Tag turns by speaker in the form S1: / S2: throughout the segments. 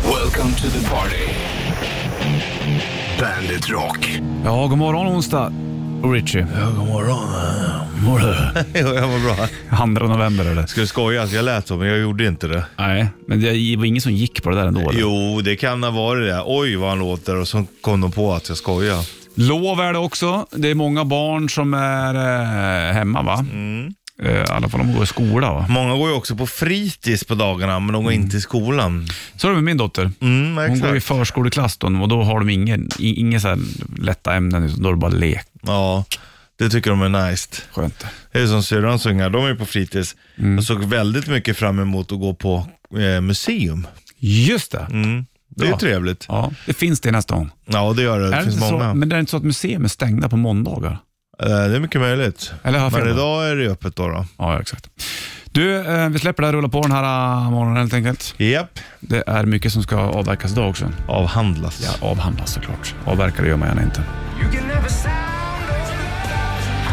S1: Welcome to the party. Bandit Rock.
S2: Ja, god morgon onsdag. Richie.
S3: Ja, god morgon. Mår du? jo, jag mår bra.
S2: 2 november eller?
S3: Ska du skoja? Jag lät så, men jag gjorde inte det.
S2: Nej, men det var ingen som gick på det där ändå eller?
S3: Jo, det kan ha varit det. Oj, vad han låter. Och så kom de på att jag skojar.
S2: Lov är det också. Det är många barn som är eh, hemma va?
S3: Mm.
S2: Eh, I alla fall om de går i skola va?
S3: Många går ju också på fritids på dagarna, men de går inte i skolan.
S2: Så är det med min dotter.
S3: Mm,
S2: Hon går i
S3: exakt.
S2: förskoleklass då, och då har de ingen, i- inga så här lätta ämnen, utan då är det bara lek.
S3: Ja, det tycker de är nice.
S2: Skönt.
S3: Det är som syrran sungar, de är ju på fritids. Jag såg väldigt mycket fram emot att gå på eh, museum.
S2: Just det.
S3: Mm. Det är ju
S2: Bra.
S3: trevligt.
S2: Ja, det finns det nästa gång.
S3: Ja, det gör det. Det
S2: är det
S3: finns
S2: inte
S3: många.
S2: Så, men det är inte så att museum är stängda på måndagar?
S3: Eh, det är mycket möjligt.
S2: Eller har jag fel
S3: Men
S2: då?
S3: idag är det ju öppet då. då.
S2: Ja, exakt. Du, eh, vi släpper det här och rullar på den här eh, morgonen helt enkelt.
S3: Japp,
S2: Det är mycket som ska avverkas idag också.
S3: avhandlas.
S2: Ja, avhandlas såklart. Avverka det gör man gärna inte.
S1: You can never sound off.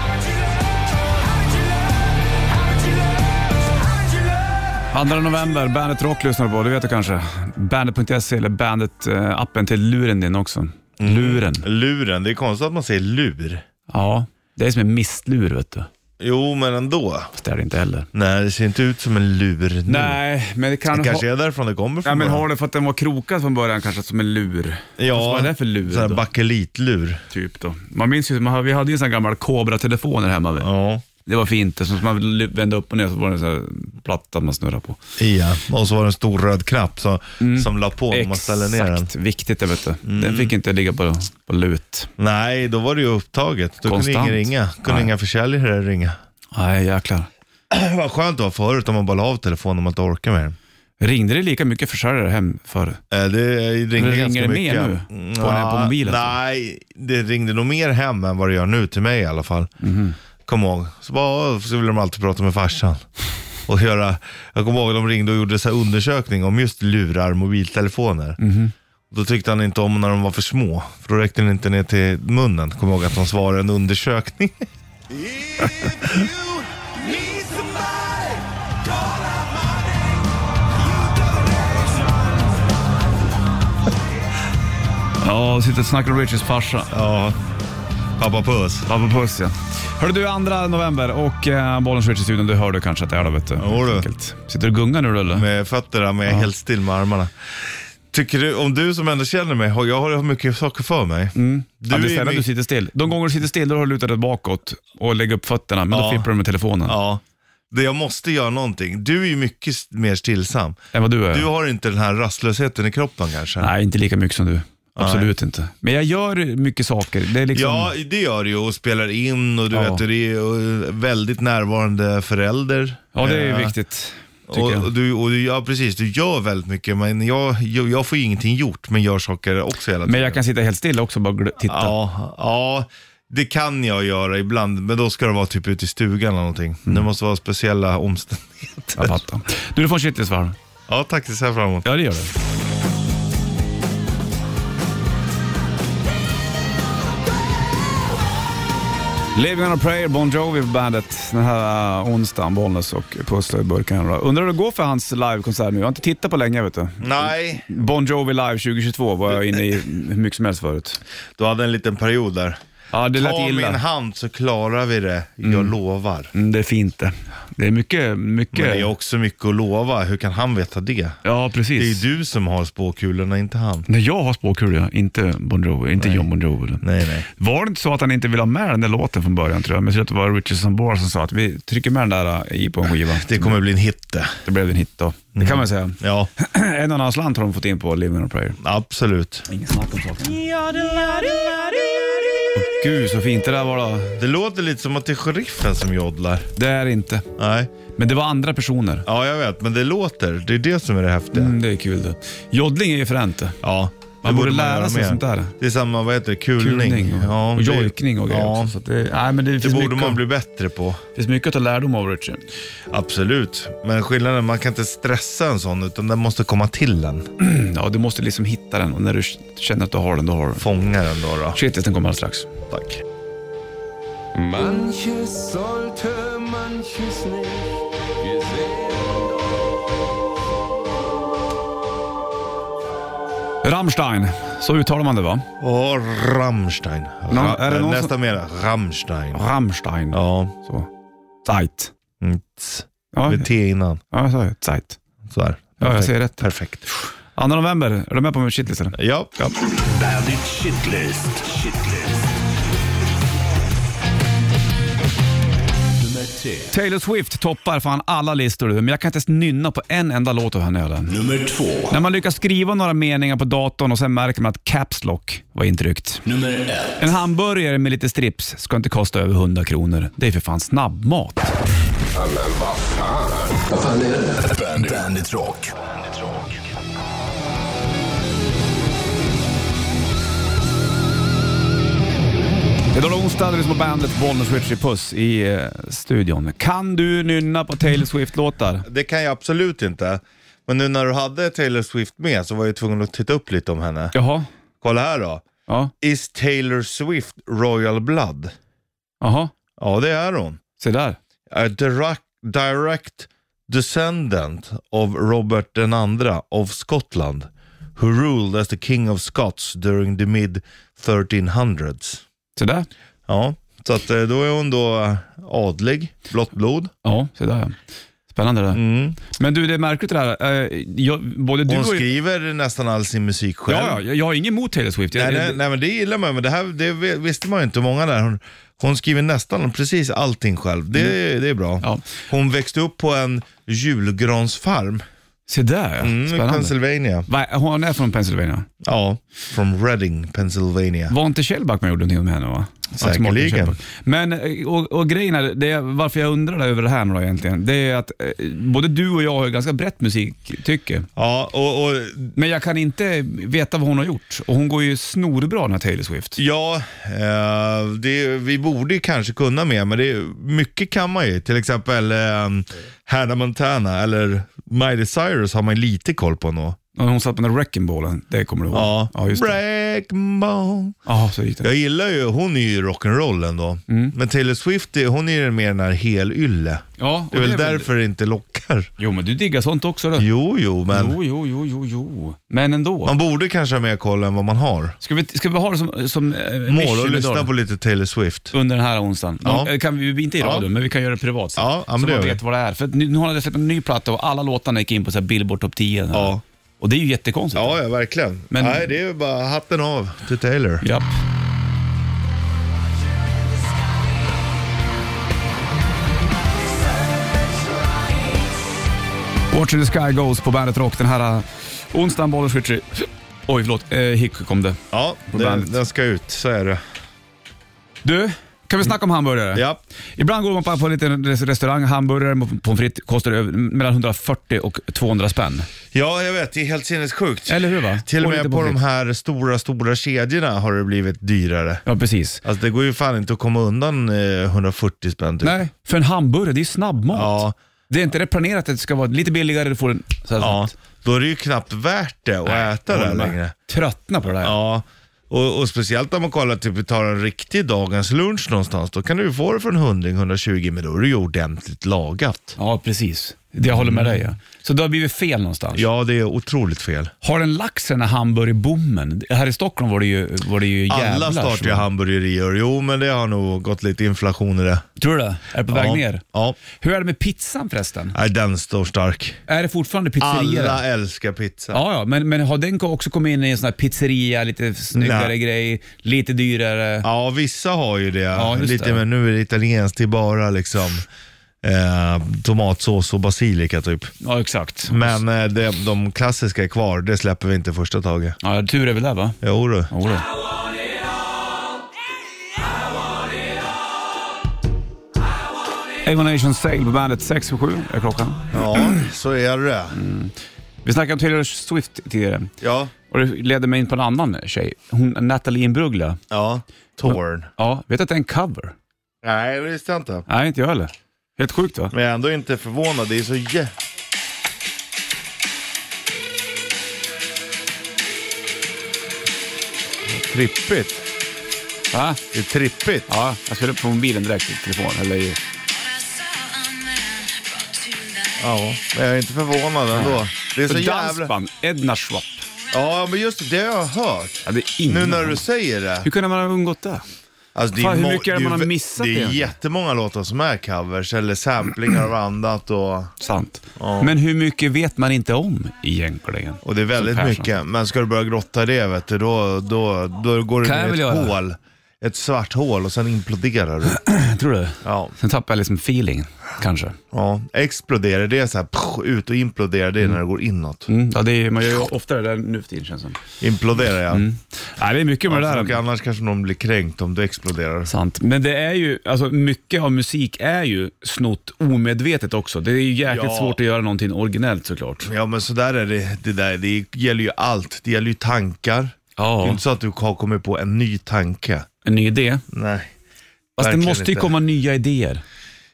S2: Andra november, Bandet Rock lyssnar du på, du vet det kanske. Bandet.se E eller Bandet-appen till luren din också. Luren.
S3: Luren, det är konstigt att man säger lur.
S2: Ja, det är som en mistlur vet du.
S3: Jo, men ändå.
S2: Fast det är det inte heller.
S3: Nej, det ser inte ut som en lur nu.
S2: Nej, men det kan
S3: Det kanske
S2: ha...
S3: är därifrån det kommer
S2: Ja,
S3: från.
S2: men
S3: början.
S2: har det för att den var krokad från början kanske, som en lur? Fast
S3: ja,
S2: Vad är det för lur
S3: Sån här
S2: då?
S3: bakelitlur.
S2: typ då? Man minns ju, man, har- vi hade ju en sån här gammal Cobra-telefoner hemma. vet du.
S3: Ja.
S2: Det var fint, det, som man ly- vände upp och ner så var det en sån här platta man snurrade på.
S3: ja, och så var det en stor röd knapp som, som la på när man ställer ner den.
S2: Mm.
S3: Mm.
S2: Exakt, viktigt det vet du. Den fick inte ligga på, på lut.
S3: Nej, då var det ju upptaget. Då kunde
S2: Konstant.
S3: ingen ringa. Kunde
S2: Nej.
S3: inga försäljare ringa.
S2: Nej, jäklar.
S3: Vad skönt det var förut om man bara la av telefonen om man inte orkar med den.
S2: Ringde det lika mycket försäljare hem förr?
S3: Eh, Det ringde
S2: Men ringer
S3: ganska
S2: det mer
S3: mycket.
S2: nu? På den här- på mobilen, alltså?
S3: Nej, det ringde nog mer hem än vad det gör nu till mig i alla fall.
S2: Mhm.
S3: Kom ihåg. Så, bara, så ville de alltid prata med farsan. Och göra, jag kommer ihåg de ringde och gjorde så här undersökning om just lurar, mobiltelefoner.
S2: Mhm.
S3: Då tyckte han inte om när de var för små, för då räckte den inte ner till munnen. Kom ihåg att de svarade en undersökning.
S1: If you need somebody, call out my
S2: Ja, och sitter och snackar om Richards farsa.
S3: Ja, pappa puss.
S2: Pappa Puss ja. Hörru du, andra november och eh, Bollens Richards studion det hör du kanske att det är då vet du.
S3: Jo du.
S2: Enkelt. Sitter du och gungar nu då, eller?
S3: med fötterna men jag är helt still med armarna. Tycker du, om du som ändå känner mig, har- jag har mycket saker för mig. Du
S2: Mm. ja, det är
S3: är
S2: sällan
S3: my-
S2: du sitter still. De gånger du sitter still då har du lutat dig bakåt och lägger upp fötterna, men
S3: Ja.
S2: då fipplar du med telefonen.
S3: Ja, det jag måste göra någonting. Du är ju mycket s- mer stillsam.
S2: Än vad du är.
S3: Du har inte den här rastlösheten i kroppen kanske?
S2: Nej, inte lika mycket som du. Absolut inte. Men jag gör mycket saker. Det är liksom...
S3: Ja, det gör du ju och spelar in och du
S2: Ja.
S3: vet, och det är ju, eh, väldigt närvarande förälder.
S2: Ja, det är
S3: Eh,
S2: viktigt. Tycker
S3: Och,
S2: jag.
S3: och du, och du, ja, precis. Du gör väldigt mycket, men jag, jag, jag får ju ingenting gjort, men gör saker också hela tiden.
S2: Men jag kan sitta helt stilla också och bara gl- titta.
S3: Ja, ja, det kan jag göra ibland, men då ska det vara typ ute i stugan eller någonting. Det måste vara speciella omständigheter.
S2: Jag fattar. Du, du får en shitlist-varv.
S3: Ja, tack. Det ser jag fram emot.
S2: Ja, det gör du. Living on a prayer, Bon Jovi på bandet den här äh, onsdagen. Bollnäs och Pussla i burken. då. Undrar hur det går för hans livekonsert nu? Jag har inte tittat på länge vet du.
S3: Nej,
S2: Bon Jovi live 2022 var jag inne i hur mycket som helst förut.
S3: du hade en liten period där.
S2: Ja, det lät
S3: Ta min
S2: illa.
S3: hand så klarar vi det, jag lovar.
S2: Mm, det är fint det. Det är mycket,
S3: Men
S2: mycket.
S3: det är också mycket att lova, hur kan han veta det?
S2: Ja, precis.
S3: Det är ju du som har spåkulorna, inte han.
S2: Nej, jag har spåkulor, inte Bon Jovi, inte John Bon Jovi.
S3: Nej, nej.
S2: Var det inte så att han inte ville ha med den där låten från början tror jag, men jag tror att det var Richardson Bohr som sa att vi trycker med den där äh, i på en skiva.
S3: Det kommer bli en hit det.
S2: Det blev en hit då. Det
S3: Mm.
S2: kan man säga.
S3: Ja,
S2: en annan slant har de fått in på Living on a prayer.
S3: absolut.
S2: Inget snack om saken. Åh, Gud så fint det där var då.
S3: Det låter lite som att det är sheriffen som joddlar.
S2: Det är det inte.
S3: Nej,
S2: Men det var andra personer.
S3: ja jag vet, men det låter. Det är det som är det häftiga.
S2: Mm, det är kul det. Joddling är ju fränt det.
S3: Ja.
S2: Man
S3: det
S2: borde
S3: man
S2: lära
S3: göra
S2: sig
S3: mer.
S2: sånt där.
S3: Det är samma, vad heter det, kulning.
S2: Kulning och,
S3: Ja,
S2: och
S3: det-
S2: jojkning och grejer
S3: ja,
S2: också. Så att det, nej, men det,
S3: Det
S2: finns,
S3: borde
S2: mycket,
S3: man bli bättre på.
S2: finns mycket att ta lärdom av Richard.
S3: Absolut. Men skillnaden, man kan inte stressa en sån utan den måste komma till en.
S2: Ja, du måste liksom hitta den och när du känner att du har den, då har du den.
S3: Fånga den då. då.
S2: Shitlisten kommer alldeles strax.
S3: Tack.
S4: Manches sollte, manches nicht. Wir sehen
S2: Rammstein, så uttalar man det va?
S3: Och Rammstein.
S2: Nå,
S3: Ra-
S2: är det någon
S3: Nästa mera, Rammstein.
S2: Rammstein.
S3: Ja,
S2: Så. Zeit.
S3: mm, tss.
S2: Ja,
S3: med T innan.
S2: ja jag sa ju Zeit.
S3: Sådär.
S2: Ja, jag ser rätt.
S3: Perfekt.
S2: 2 november, är du med på min shitlist eller?
S3: Ja, ja.
S1: Bandit Shitlist. Shitlist. Nummer tre.
S2: Taylor Swift toppar fan alla listor du, men jag kan inte ens nynna på en enda låt av henne. Eller?
S1: Nummer två.
S2: När man lyckas skriva några meningar på datorn och sen märker man att Caps Lock var intryckt.
S1: Nummer ett.
S2: En hamburgare med lite strips ska inte kosta över 100 kronor. Det är för fan snabbmat.
S1: Bandit. Bandit Rock.
S2: Det är då onsdag, det är på bandet Bollnäs Richie Puss i eh, studion. Kan du nynna på Taylor Swift-låtar?
S3: Det kan jag absolut inte. Men nu när du hade Taylor Swift med så var jag tvungen att titta upp lite om henne.
S2: Jaha.
S3: Kolla här då.
S2: Ja.
S3: Is Taylor Swift Royal Blood?
S2: Jaha.
S3: Ja, det är hon.
S2: Se där.
S3: A direct, direct descendant of Robert den andra of Scotland, who ruled as the king of Scots during the mid 1300s.
S2: Se där.
S3: Ja, så att eh, då är hon då eh, adlig, blått blod.
S2: Ja, se där ja. Spännande det där. Men du, det är märkligt det där. Eh, Jag, både du
S3: Mm. Hon
S2: och...
S3: skriver nästan all sin musik själv.
S2: Ja, ja, jag- jag har inget emot Taylor Swift. Jag,
S3: Nej, nej, nej men det gillar man men det här det visste man ju inte många där. Hon, hon skriver nästan precis allting själv. Det, det är bra.
S2: Mm. Ja.
S3: Hon växte upp på en julgransfarm
S2: Se där ja.
S3: mm, i
S2: Spännande.
S3: Pennsylvania.
S2: Va, hon är från Pennsylvania.
S3: Ja, från Reading, Pennsylvania.
S2: Var inte Kjellback med och gjorde någonting med henne va? Att
S3: Säkerligen.
S2: Mårten Kjellback. Men, eh, och, och grejen är, det är, varför jag undrar över det här nu då egentligen, det är att eh, både du och jag har ju ganska brett musiktycke.
S3: Ja, och, och
S2: Men jag kan inte veta vad hon har gjort. Och hon går ju snorbra den här Taylor Swift.
S3: ja, eh, det, vi borde ju kanske kunna mer, men det, mycket kan man ju. Till exempel eh, Hannah Montana eller Miley Cyrus har man ju lite koll på nog.
S2: Och Hon satt på den där wrecking ballen, det kommer du ihåg?
S3: Ja,
S2: ja just det.
S3: Break ball.
S2: Ja, så gick det.
S3: Jag gillar ju, hon är ju rock'n'roll ändå. Men Taylor Swift, är- hon är ju mer den här helylle.
S2: Mm. Ja,
S3: Det är väl
S2: och
S3: därför det inte lockar.
S2: Jo, men du diggar sånt också du.
S3: Jo, jo, men
S2: Jo, jo, jo, jo, jo. Men ändå.
S3: man borde kanske ha mer koll än vad man har.
S2: Ska vi, ska vi ha det som, som eh,
S3: Mål
S2: mission
S3: och lyssna
S2: idag?
S3: på lite Taylor Swift.
S2: Under den här onsdagen.
S3: Ja.
S2: De, eh, kan vi, inte i radion, men vi kan göra det privat sen.
S3: Ja, ja, men
S2: så
S3: det
S2: man
S3: gör vi.
S2: vet vad det är. För att nu, nu har de släppt en ny platta och alla låtarna gick in på så här Billboard Top 10.
S3: Ja.
S2: Och det är ju jättekonstigt.
S3: Ja, ja verkligen.
S2: Men-
S3: Nej, det är ju bara hatten av till Taylor.
S2: Japp. Watching the Sky Goes på Bandet Rock den här eh, onsdagen, Bollers Ritchie. Oj, förlåt. Eh, hick kom det.
S3: Ja, den,
S2: bandet.
S3: den ska ut, så är det.
S2: Du, kan vi snacka om hamburgare?
S3: Ja.
S2: Ibland går man på en liten res- restaurang, hamburgare med pommes frites kostar över- mellan 140 och 200 spänn.
S3: ja, jag vet. Det är helt sinnessjukt.
S2: Eller hur va?
S3: Till och
S2: lite
S3: med på
S2: pommes
S3: de
S2: frites.
S3: här stora, stora kedjorna har det blivit dyrare.
S2: Ja, precis.
S3: Alltså det går ju fan inte att komma undan eh, 140 spänn typ.
S2: Nej, för en hamburgare, det är ju snabbmat.
S3: Ja.
S2: Det är inte det planerat att det ska vara lite billigare, du får en... Så här,
S3: Ja, då är det ju knappt värt det att äta det här längre.
S2: Tröttna på det där.
S3: Ja, och, och speciellt om man kollar, typ vi tar en riktig dagens lunch någonstans, då kan du ju få det för en hundring, 120, men då är det ju ordentligt lagat.
S2: Ja, precis. Det jag håller med dig ja. Så det har blivit fel någonstans.
S3: Ja, det är otroligt fel.
S2: Har den laxen den här hamburgerbommen? Här i Stockholm var det ju, var det ju jävlar.
S3: Alla startar ju
S2: som-
S3: hamburgerier, jo men det har nog gått lite inflation i det.
S2: Tror du det? Är det på väg
S3: ja,
S2: ner?
S3: Ja,
S2: Hur är det med pizzan förresten?
S3: Nej, den står stark.
S2: Är det fortfarande pizzerier?
S3: Alla älskar pizza.
S2: Ja, ja, men, men har den också kommit in i en sån här pizzeria, lite snyggare
S3: Nej.
S2: grej, lite dyrare?
S3: Ja, vissa har ju det.
S2: just
S3: Lite,
S2: det.
S3: Men nu är det italienskt, det är bara liksom eh, tomatsås och basilika typ.
S2: Ja, exakt.
S3: Men eh, de, de klassiska är kvar, det släpper vi inte första taget.
S2: Ja, tur är väl det va?
S3: Jo du.
S2: Jo då. Avon Nation Sale på bandet 6 och 7 är klockan.
S3: Ja, så är det.
S2: Vi snackade om Taylor Swift tidigare
S3: Ja,
S2: och det ledde mig in på en annan tjej. Hon, Nathalie Imbruglia.
S3: ja. Torn.
S2: Ja, vet du att det är en cover?
S3: Nej, det visste jag inte.
S2: Nej, inte jag heller. Helt sjukt va?
S3: Men jag är ändå inte förvånad, det är så jä... Trippigt.
S2: Va?
S3: Det är trippigt.
S2: Ja, jag spelade på mobilen direkt i telefon. Eller i...
S3: Ja, men jag är inte förvånad ändå. Det är så
S2: För
S3: jävla...
S2: dansband, Edna Schwab.
S3: Ja, men just det, det har jag hört.
S2: Ja, det är ingen
S3: Nu när
S2: aning.
S3: du säger det.
S2: Hur kunde man ha undgått det?
S3: Alltså, det är
S2: Fan, hur
S3: må-
S2: mycket är det
S3: ju
S2: man har
S3: vä-
S2: missat
S3: Det är
S2: egentligen?
S3: jättemånga låtar som är covers eller samplingar av annat och,
S2: Sant. Men hur mycket vet man inte om egentligen?
S3: och det är väldigt
S2: Som Persson.
S3: mycket. Men ska du börja grotta i det vet du, då, då, då går du
S2: Kan jag
S3: ner i
S2: väl
S3: ett
S2: göra.
S3: hål. Ett svart hål och sen imploderar du.
S2: Tror du?
S3: Ja,
S2: Sen tappar jag liksom feelingen, kanske.
S3: ja. Exploderar, det är så här pff, ut och imploderar det är när det går inåt.
S2: Mm. Ja, det är, man gör ju oftare det där nu för tiden känns det som.
S3: Imploderar ja.
S2: Mm. Nej, det är mycket med
S3: Ja,
S2: det
S3: för
S2: där.
S3: annars kanske någon blir kränkt om du exploderar.
S2: Sant. Men det är ju, alltså mycket av musik är ju snott omedvetet också. Det är ju jäkligt
S3: Ja.
S2: svårt att göra någonting originellt såklart.
S3: Ja men sådär är det, det där. Det gäller ju allt. Det gäller ju tankar. Det är
S2: Ja.
S3: inte så att du har kommit på en ny tanke.
S2: En ny idé.
S3: Nej.
S2: Fast det
S3: Verkligen
S2: måste ju
S3: inte.
S2: komma nya idéer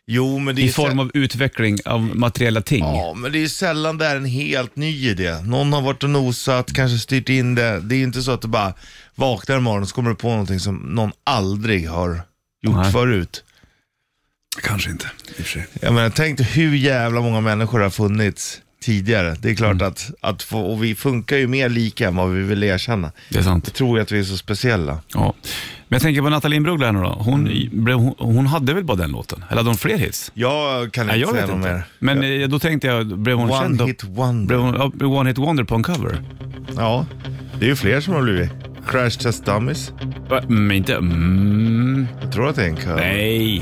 S3: Jo men det är
S2: i
S3: ju
S2: form
S3: sä-
S2: av utveckling av materiella ting.
S3: Ja men det är ju sällan det är en helt ny idé. Någon har varit och nosat, kanske styrt in det. Det är ju inte så att du bara vaknar imorgon och så kommer du på någonting som någon aldrig har gjort
S2: Nej.
S3: förut.
S2: Kanske inte, i och för sig.
S3: Jag menar, tänk dig hur jävla många människor har funnits tidigare. Det är klart
S2: Mm.
S3: att, att få, och vi funkar ju mer lika än vad vi vill erkänna.
S2: Det är sant.
S3: Jag tror ju att vi är så speciella.
S2: Ja. Men jag tänker på Nathalie Brugg där nu då. Hon, blev, hon, hon hade väl bara den låten? Eller hade hon fler hits?
S3: Jag kan inte
S2: Nej, jag
S3: säga
S2: vet
S3: något
S2: inte.
S3: mer.
S2: Men eh, då tänkte jag, blev hon känd?
S3: One
S2: då?
S3: hit wonder.
S2: Blev hon ja, blev One Hit Wonder på en cover?
S3: Ja, det är ju fler som har blivit. Crash Test Dummies.
S2: Va? Mm, inte... Mm,
S3: Jag tror att det är en kör.
S2: nej,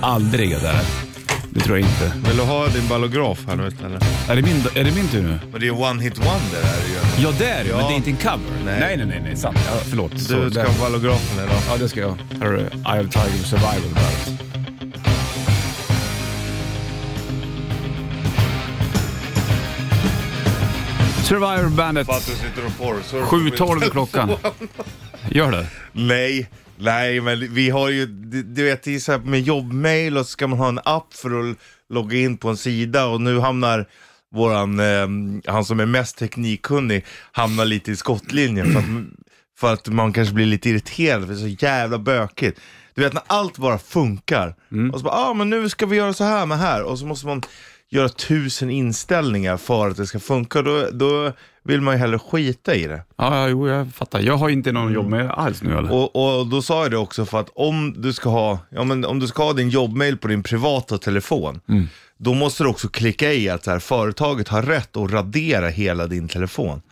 S2: aldrig det där. Det tror jag inte.
S3: Vill du ha din ballograf här nu eller?
S2: Är det min, är det min tur nu?
S3: Men det är ju One Hit Wonder här ju.
S2: Ja, det är det, men
S3: Ja.
S2: det är inte en cover.
S3: Nej.
S2: nej, nej, nej, nej sant. Ja, förlåt. Så,
S3: Du ska
S2: där.
S3: ha ballografen idag.
S2: Ja, det ska jag. Här har du Eye of Tiger Survival på bandet. Survivor Bandet.
S3: För att du sitter och porrsar.
S2: 7.12 är klockan. Gör det?
S3: Nej, nej men vi har ju, du, du vet det är så här med jobbmail och så ska man ha en app för att logga in på en sida och nu hamnar våran, eh, han som är mest teknikkunnig, hamnar lite i skottlinjen för att, för att man kanske blir lite irriterad för det är så jävla bökigt. Du vet när allt bara funkar och så bara, ah, men nu ska vi göra så här med här och så måste man göra tusen inställningar för att det ska funka. Då, då vill man ju hellre skita i det.
S2: Ja, ja, jo, jag fattar. Jag har inte någon jobb med alls nu eller?
S3: Och, och då sa jag det också för att om du ska ha, ja, men om du ska ha din jobbmail på din privata telefon, då måste du också klicka i att så här, företaget har rätt att radera hela din telefon.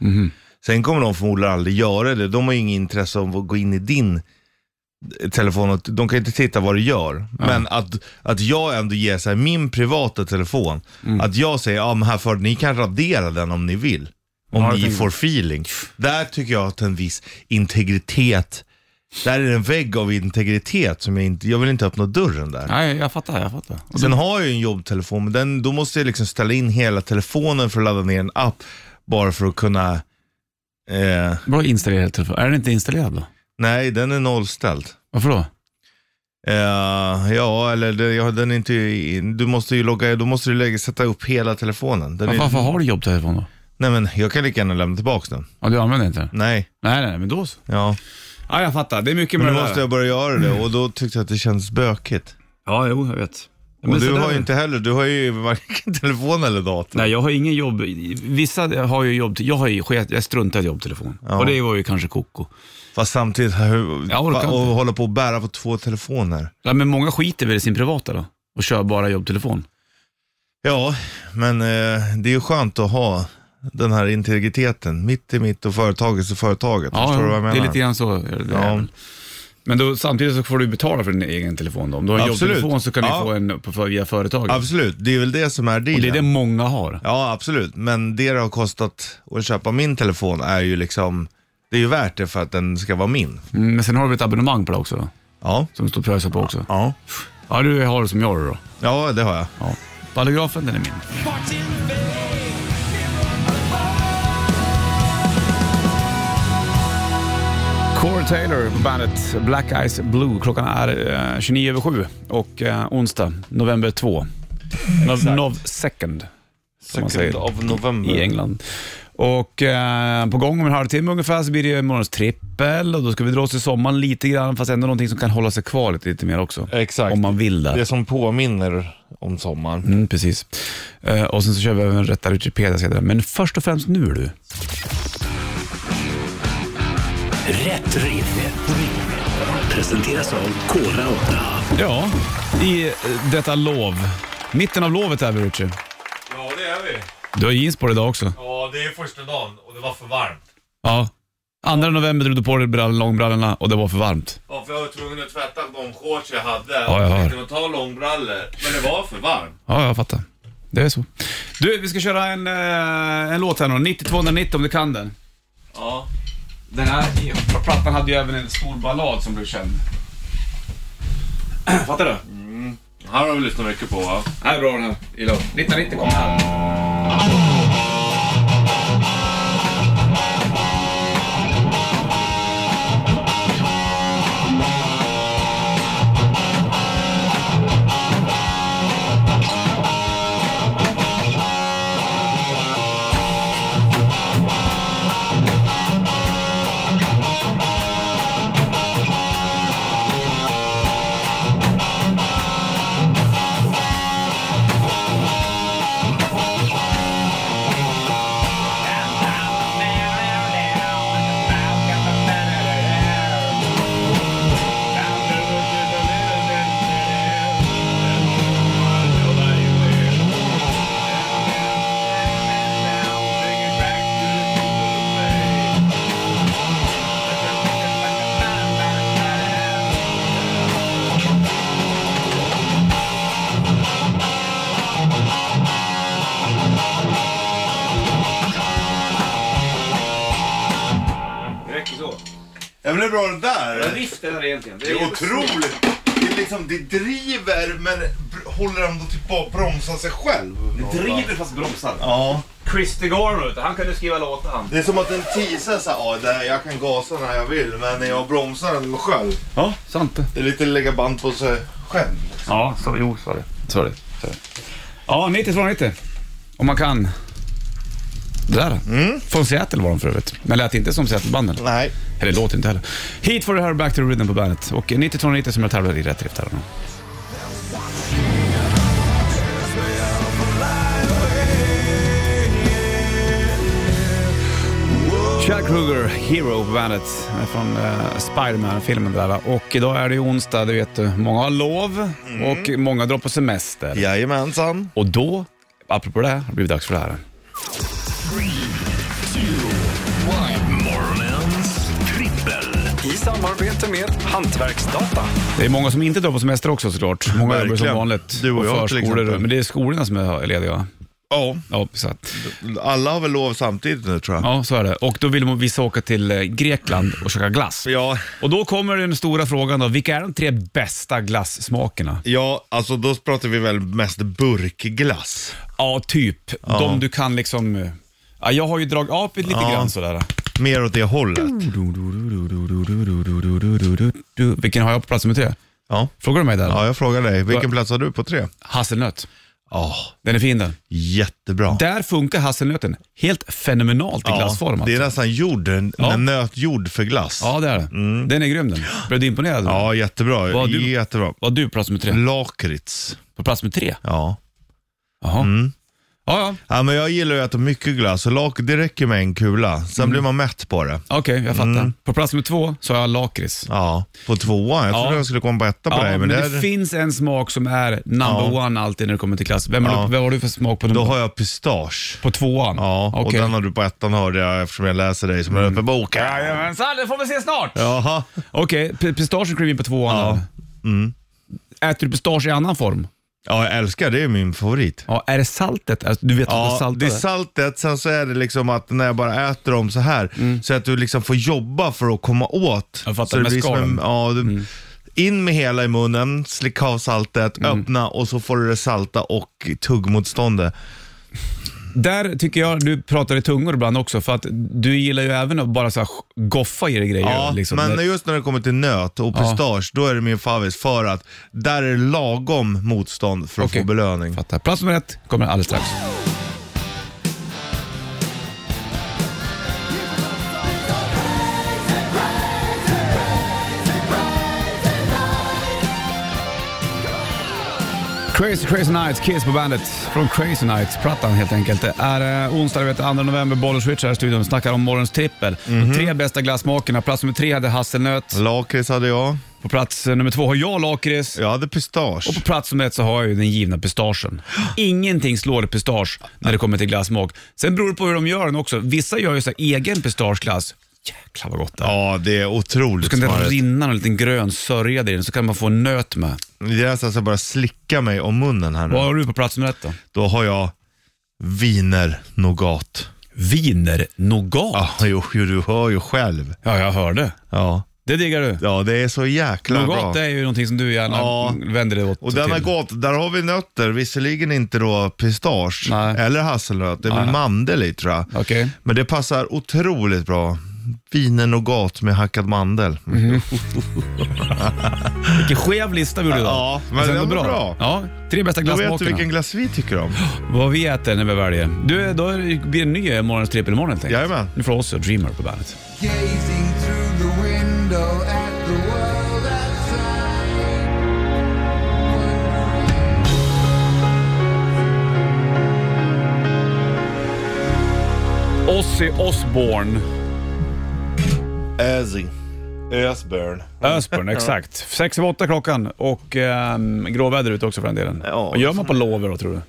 S3: Sen kommer de förmodligen aldrig göra det. De har ju inget intresse av att gå in i din telefon. Och de kan inte titta vad du gör. Men att, att jag ändå ger så här, min privata telefon,
S2: Mm.
S3: att jag säger ja, men här för, ni kan radera den om ni vill. Om
S2: Ja, jag
S3: ni
S2: tänker-
S3: får feeling. Där tycker jag att en viss integritet, där är en vägg av integritet som jag inte, jag vill inte öppna dörren där.
S2: Nej, jag fattar, jag fattar. Och
S3: Sen har jag ju en jobbtelefon, men den, då måste jag liksom ställa in hela telefonen för att ladda ner en app. Bara för att kunna... Eh,
S2: Bra installerad telefon. Är den inte installerad då?
S3: nej, den är nollställd.
S2: Varför då?
S3: Eh, ja, eller det, ja, den är inte... i- Du måste ju logga, då måste du lägga, sätta upp hela telefonen. Den
S2: Varför,
S3: är,
S2: varför har du jobbtelefon då?
S3: nej men jag kan lika gärna lämna tillbaka den.
S2: Ja, du använder inte den?
S3: Nej,
S2: Nej, nej, men då så.
S3: ja.
S2: Ja, jag fattar. Det är mycket
S3: Men
S2: med
S3: nu
S2: det
S3: måste
S2: där.
S3: jag börja göra det och då tyckte jag att det kändes bökigt.
S2: eh, Ja, jo, jag vet. Men
S3: Och du
S2: sådär.
S3: har ju inte heller, du har ju varken telefon eller dator.
S2: Nej, jag har ingen jobb. Vissa har ju jobb. Jag, har ju, jag struntar i jobbtelefon. Och det var ju kanske koko.
S3: Fast samtidigt, hur,
S2: Jag orkar
S3: va- och
S2: inte.
S3: hålla på och bära på två telefoner.
S2: Ja, men många skiter väl i sin privata då och kör bara jobbtelefon.
S3: Ja, men eh, det är ju skönt att ha den här integriteten. Mitt i mitt och företaget är företaget. Förstår du vad jag menar?
S2: det är lite grann så. Det är
S3: Ja.
S2: väl. Men då, samtidigt så får du betala för din egen telefon då. Om du har en
S3: Absolut.
S2: jobbtelefon så kan
S3: Ja.
S2: du få en på, via företaget.
S3: Absolut, det är väl det som är
S2: Och det är
S3: dealen.
S2: det många har.
S3: Ja, absolut. Men det det har kostat att köpa min telefon är ju liksom, det är ju värt det för att den ska vara min.
S2: Mm, Men sen har du väl ett abonnemang på det också då,
S3: Ja.
S2: Som du står och pröjsar på också.
S3: Ja.
S2: Ja, du har det som jag har det då.
S3: ja, det har jag.
S2: Ja. Ballografen, den är min. Core Taylor på bandet Black Eyes Blue. Klockan är eh, 29 över 7 och eh, onsdag november 2. Nov, nov second, som man säger
S3: av november.
S2: i England. Och eh, på gång om en halvtimme ungefär så blir det morgons trippel och då ska vi dra oss till sommaren lite grann fast ändå någonting som kan hålla sig kvar lite, lite mer också.
S3: Exakt.
S2: Om man vill
S3: Det
S2: det.
S3: som påminner om sommaren.
S2: Mm, precis. Eh, och sen så kör vi även Rätta Wikipedia senare. Men först och främst nu du.
S1: Rätt riff. Presenteras av Kora 8.
S2: Ja, i eh, detta lov. Mitten av lovet är vi, Richie.
S3: Ja, det är vi.
S2: Du har jeans på dig idag också.
S3: Ja, det är första dagen och det var för varmt.
S2: Ja. 2 november drog du på dig brall- långbrallorna och det var för varmt.
S3: Ja, för jag var tvungen att tvätta de shorts jag hade.
S2: Ja, jag hör.
S3: tänkte nog ta långbrallor, men det var för varmt.
S2: Ja, jag fattar. Det är så. Du, vi ska köra en, eh, en låt här nu. 9290 om du kan den.
S3: Ja.
S2: Den här plattan hade ju även en stor ballad som blev känd. Mm. Fattar du?
S3: Här har vi lyssnat mycket på va?
S2: Här är bra den här. Gillar 1990 kom här. Det räcker så.
S3: Ja men det är bra det där.
S2: Riff det här egentligen.
S3: Det är otroligt. Det, är liksom, det driver men br- håller ändå typ tillbaka, bromsar sig själv.
S2: fast bromsar.
S3: Ja.
S2: Christer Garner, han kunde skriva låtar han.
S3: Det är som att den teasar såhär, ja där, jag kan gasa när jag vill men när jag bromsar den själv.
S2: Ja, sant det.
S3: Det är lite lägga band på sig själv.
S2: Ja, så, jo, så är det. Så är det. Så är det. Ja, 90 från 90. Om man kan. Det där. Från Seattle var de för övrigt. Men lät inte som Seattle-banden.
S3: Nej.
S2: Eller låter inte heller. Hit får du höra Back to the Rhythm på bandet. Och 90 från 90 som jag tävlar i rätt rift här. Chad Kruger, Hero på bandet, är från eh, Spiderman-filmen där. Och idag är det ju onsdag, det vet du. Många har lov och många drar på semester.
S3: Jajamensan.
S2: Och då, apropå det, här, har det blivit dags för det här.
S1: Morgonens trippel.
S5: I samarbete med Hantverksdata.
S2: Det är många som inte drar på semester också såklart. Många jobbar som
S3: Verkligen.
S2: vanligt.
S3: Du och jag, till
S2: förskolor,
S3: exempel.
S2: Men det är skolorna som är lediga.
S3: Ja,
S2: Ja, så, att,
S3: alla har väl lov samtidigt nu tror jag.
S2: ja, så är det. Och då vill man- vissa åka till eh, Grekland och köka glass.
S3: Ja,
S2: Och då kommer den stora frågan då. Vilka är de tre bästa glassmakerna?
S3: ja alltså då pratar vi väl mest burkglass.
S2: Ja, typ. De du kan liksom... eh, Ja, jag har ju dragit upp lite grann sådär.
S3: Mer åt det hållet.
S2: Du, vilken har jag på plats nummer tre?
S3: Ja.
S2: Frågar du mig där?
S3: Ja, jag frågar dig. Vilken plats har du på tre?
S2: Hasselnöt.
S3: Ja,
S2: Den är fin den.
S3: jättebra.
S2: Där funkar hasselnöten helt fenomenalt i glassform. alltså.
S3: det är nästan jord, en
S2: Ja.
S3: en nötjord för glass.
S2: Ja, det är det. Den är grym den. Blev du imponerad?
S3: Mm. Ja, Mm. jättebra.
S2: Vad har du-
S3: Jättebra.
S2: Var du på plats nummer tre?
S3: Lakrits.
S2: På plats nummer tre?
S3: Ja.
S2: Jaha.
S3: Mm.
S2: Ja, ja.
S3: ja, men jag gillar ju att äta mycket glass och lak, det räcker med en kula. Sen
S2: Mm.
S3: blir man mätt på det.
S2: Okej, jag fattar.
S3: Mm.
S2: På plats nummer två så har jag lakrits.
S3: Ja, på tvåan. Jag
S2: Ja.
S3: trodde jag skulle komma på etta på
S2: Ja,
S3: dig,
S2: men
S3: men,
S2: det
S3: där,
S2: finns en smak som är number one alltid när det kommer till klass. Vem har,
S3: Ja.
S2: du, vad har du för smak på, nummer,
S3: då har jag pistage.
S2: på tvåan?
S3: Ja, och
S2: Okej. Mm.
S3: den har du på ettan hörde jag eftersom jag läser dig som en öppen bok.
S2: Jajamensan, det får vi se snart!
S3: Jaha.
S2: Okej, okay, pistagen klev in på tvåan.
S3: Ja. Mm.
S2: eller? Äter du pistage i annan form?
S3: Ja, jag älskar det. är min favorit.
S2: Ja, är det saltet? Alltså, du vet att det är
S3: Ja,
S2: saltet?
S3: det är saltet. Sen så är det liksom att när jag bara äter dem så här, så att du liksom får jobba för att komma åt.
S2: Mm. Jag fattar,
S3: så det
S2: med Mm.
S3: blir
S2: skalen.
S3: som ja, du, In med hela i munnen, slicka av saltet,
S2: Mm.
S3: öppna och så får du det salta och tuggmotståndet.
S2: Där tycker jag du pratar i tungor ibland också, för att du gillar ju även att bara så här goffa i dig grejer.
S3: Ja,
S2: liksom.
S3: men
S2: Det-
S3: just när det kommer till nöt och pistage, då är det min favorit för att där är det lagom motstånd för att
S2: Okej.
S3: få belöning.
S2: Fattar. Plats nummer ett kommer alldeles strax. Crazy Crazy Nights, Kiss på bandet. Från Crazy Nights-plattan helt enkelt. Det är eh, onsdag den 2 november, Bollenswitch här i studion. Snackar om morgons trippel.
S3: Mhm.
S2: De tre bästa glassmakerna. Plats nummer tre hade hasselnöt.
S3: Lakrits hade jag.
S2: På plats eh, nummer två har jag lakrits.
S3: Jag hade pistage.
S2: Och på plats nummer ett så har jag ju den givna pistagen. Ingenting slår pistage när det kommer till glassmak. Sen beror det på hur de gör den också. Vissa gör ju så här egen pistageglass. Jäklar vad gott det är.
S3: Ja, det är otroligt
S2: Ska det
S3: smarrigt.
S2: rinna en liten grön sörja i den så kan man få en nöt med.
S3: Det är så att jag bara slicka mig om munnen här nu.
S2: Vad har du på plats nummer ett då?
S3: Då har jag viner nougat.
S2: Wiener nougat.
S3: Ja, jo, jo, du hör ju själv.
S2: Ah. Ja, jag hörde.
S3: Ja,
S2: Det diggar du.
S3: ja det är så jäkla
S2: Nougat
S3: bra.
S2: är ju någonting som du gärna
S3: Ja.
S2: vänder dig åt.
S3: Och den har
S2: till.
S3: gått, där har vi nötter, visserligen inte då pistage
S2: Nej.
S3: eller hasselnöt, det är väl mandel i tror jag.
S2: Okej.
S3: Men det passar otroligt bra. Viner nougat med hackad mandel.
S2: Mm. Vilken skev lista vi gjorde idag.
S3: Ja, men
S2: sen
S3: den
S2: då
S3: var bra.
S2: Ja, tre bästa
S3: Då vet du
S2: glassmakerna.
S3: vilken glass vi tycker om.
S2: Vad vi äter när vi väljer. Du, då är det- blir det en ny morgonens trippel imorgon helt enkelt.
S3: Jajamän.
S2: Nu får oss och Dreamer på bandet.
S6: Gazing through the window at the world outside.
S2: Ozzy Osbourne.
S3: Azzy. Ösbörn.
S2: Ösburn, exakt. Sex över åtta klockan och ehm, gråväder ute också för den delen.
S3: Ja.
S2: Vad gör man på lover då tror du?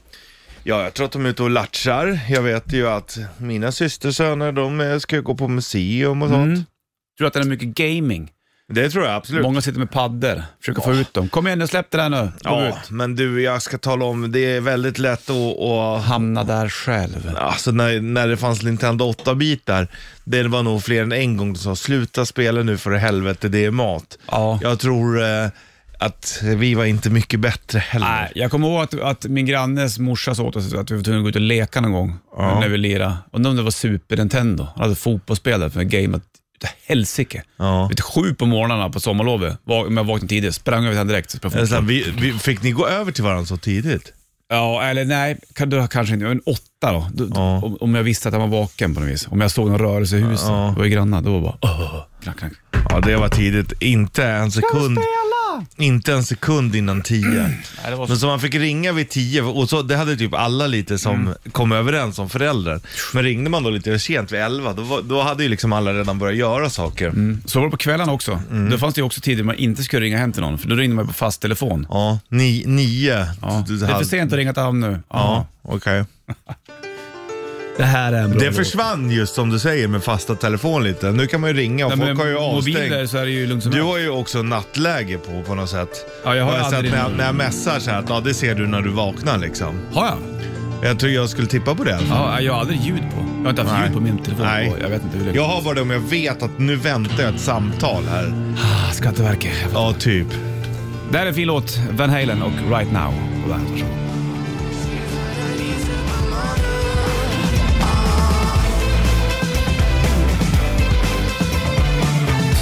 S3: Ja, jag tror att de är ute och latchar. Jag vet ju att mina systersöner, de eh, ska ju gå på museum och sånt.
S2: Mm. Tror du att det är mycket gaming?
S3: Det tror jag absolut.
S2: Många sitter med paddor, försöker få ut dem. Kom igen nu, släpp det där nu. Kom
S3: ja,
S2: ut.
S3: men du, jag ska tala om, det är väldigt lätt att... att
S2: Hamna där själv.
S3: Alltså när, när det fanns Nintendo 8-bitar, det var nog fler än en gång som sa sluta spela nu för i helvete, det är mat.
S2: Ja.
S3: Jag tror eh, att vi var inte mycket bättre heller.
S2: Nej, jag kommer ihåg att, att min grannes morsa sa åt oss att vi var tvungna att gå ut och leka någon gång eh, när vi lirade. Undrar om det var Super Nintendo. Han hade fotbollsspel där för gamet utav helsike.
S3: Ja.
S2: Vet, du, sju på morgnarna på sommarlovet, va- om jag vaknade tidigt, sprang över till honom direkt och spelade
S3: Eller så här,
S2: fotboll.
S3: vi, vi, fick ni gå över till varandra så tidigt?
S2: Ja, eller nej, kan, du, kanske inte. En åtta då. Du,
S3: Ja.
S2: om, om jag visste att han var vaken på något vis. Om jag såg någon rörelse i huset,
S3: Ja.
S2: det var ju grannar, då var det bara oh, knack, knack.
S3: Ja, det var tidigt. Inte en sekund. Inte en sekund innan tio.
S2: det var så-
S3: Men så man fick ringa vid tio, och så, det hade typ alla lite som
S2: Mm.
S3: kom överens om föräldrar. Men ringde man då lite sent vid elva, då, var- då hade ju liksom alla redan börjat göra saker.
S2: Så var det på kvällen också.
S3: Mm.
S2: Då fanns det ju också tider man inte skulle ringa hem till någon, för då ringde man på fast telefon.
S3: Ja, ni, nio.
S2: Ja. Det är för sent att ringa till hamn nu.
S3: Ja, okej.
S2: Det här är en bra
S3: Det försvann just som du säger med fasta telefon lite. Nu kan man ju ringa och
S2: Nej, men
S3: folk har ju
S2: mobiler
S3: avstängt.
S2: så är det ju lugnt som
S3: Du
S2: helst.
S3: har ju också nattläge på, på något sätt.
S2: Ja, jag har
S3: sett
S2: aldrig-
S3: när, jag, när jag messar så här att ja, det ser du när du vaknar liksom.
S2: Har jag?
S3: Jag tror jag skulle tippa på det.
S2: Ja, jag har aldrig ljud på. Jag har inte haft
S3: Nej.
S2: ljud på min telefon.
S3: Nej.
S2: Nej. Jag vet inte hur det
S3: Jag har bara det om jag vet att nu väntar jag ett samtal här.
S2: Ah, Skatteverket.
S3: Ja, typ.
S2: Det här är en fin låt. Van Halen och Right Now. på Bandet. Varsågod.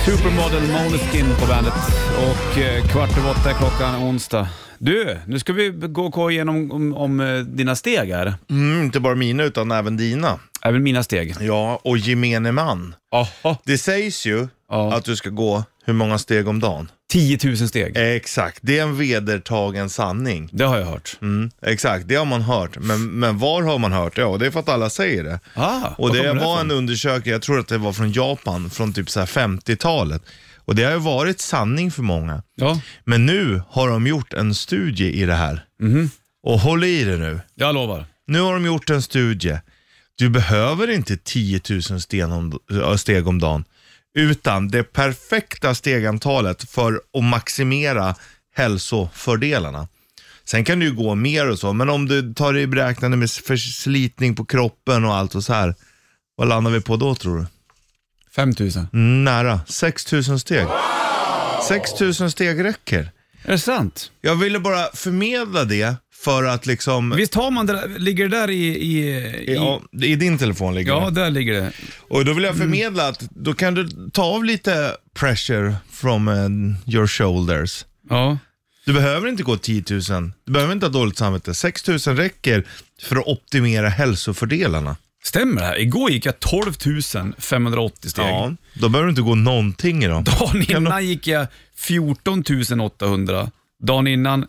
S2: Supermodel Måneskin på bandet och eh, kvart över åtta är klockan onsdag. Du, nu ska vi gå och gå igenom om, om eh, dina steg här.
S3: Mm, inte bara mina utan även dina.
S2: Även mina steg.
S3: Ja, och gemene man.
S2: Jaha.
S3: Det sägs ju
S2: Ja.
S3: att du ska gå hur många steg om dagen.
S2: 10 000
S3: Eh.
S2: steg.
S3: Exakt, det är en vedertagen sanning.
S2: Det har jag hört.
S3: Mm, exakt, det har man hört. Men, men var har man hört det? Ja, det är för att alla säger det.
S2: Ah,
S3: och det
S2: kommer
S3: var
S2: ifrån?
S3: en undersökning, jag tror att det var från Japan, från typ så här 50-talet. Och det har ju varit sanning för många.
S2: Ja,
S3: Men nu har de gjort en studie i det här. Och håll i det nu.
S2: jag lovar.
S3: Nu har de gjort en studie. Du behöver inte 10 000 sten om, äh, steg om dagen, utan det perfekta stegantalet för att maximera hälsofördelarna. Sen kan du ju gå mer och så, men om du tar det i beräknande med förslitning på kroppen och allt och så här. Vad landar vi på då tror du?
S2: 5 000.
S3: Mm. Nära 6 000 steg. 6 000 steg räcker.
S2: Är det sant?
S3: Jag ville bara förmedla det för att liksom...
S2: Visst har man det där, ligger det där i... i, i
S3: Ja, I din telefon ligger det.
S2: ja, Mm. där ligger det.
S3: Och då vill jag förmedla att då kan du ta av lite pressure from eh, your shoulders.
S2: Ja.
S3: Du behöver inte gå 10 000. Du behöver inte ha dåligt samvete. 6 000 räcker för att optimera hälsofördelarna.
S2: Stämmer det här? Igår gick jag 12 580 steg.
S3: Ja, då behöver du inte gå någonting idag.
S2: Dagen
S3: Kan du-
S2: innan gick jag 14 800 Dagen innan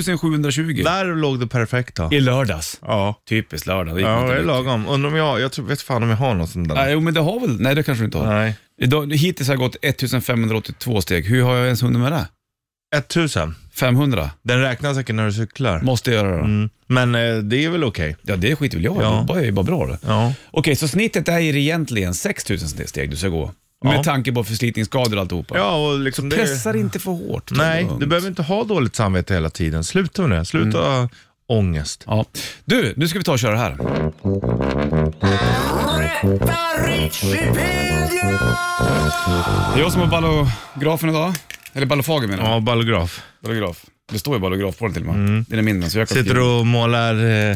S2: 6720.
S3: Där låg det perfekta.
S2: I lördags.
S3: Ja,
S2: Typiskt lördag. gick
S3: ja
S2: inte
S3: det är
S2: mycket.
S3: lagom. Undrar om jag, jag tror, vet fan om jag har något sånt där.
S2: Nej, jo, men det har väl... Nej, det kanske du inte har.
S3: Nej.
S2: Idag, hittills har jag gått 1582 steg. Hur har jag ens hunnit med det?
S3: 1000.
S2: 500?
S3: Den räknas säkert när du cyklar.
S2: Måste jag göra då.
S3: Mm. Men eh, det är väl okej.
S2: Ja, det skiter väl jag i.
S3: Ja.
S2: Jag är ju bara bra det.
S3: Ja.
S2: Okej, så snittet är egentligen 6000 steg du ska gå.
S3: Ja.
S2: Med tanke på förslitningsskador och alltihopa.
S3: ja, och liksom det...
S2: Pressar inte för hårt.
S3: Nej,
S2: Lugnt. Mm.
S3: du behöver inte ha dåligt samvete hela tiden. Sluta med det. Sluta ha ångest.
S2: Ja. Du, nu ska vi ta och köra här. Det är jag som har ballografen idag. Eller ballofagen menar jag.
S3: Ja, ballograf.
S2: Ballograf. Det står ju ballograf på den till och med. Den är mindre så jag kan
S3: Sitter
S2: skriva.
S3: du och målar eh,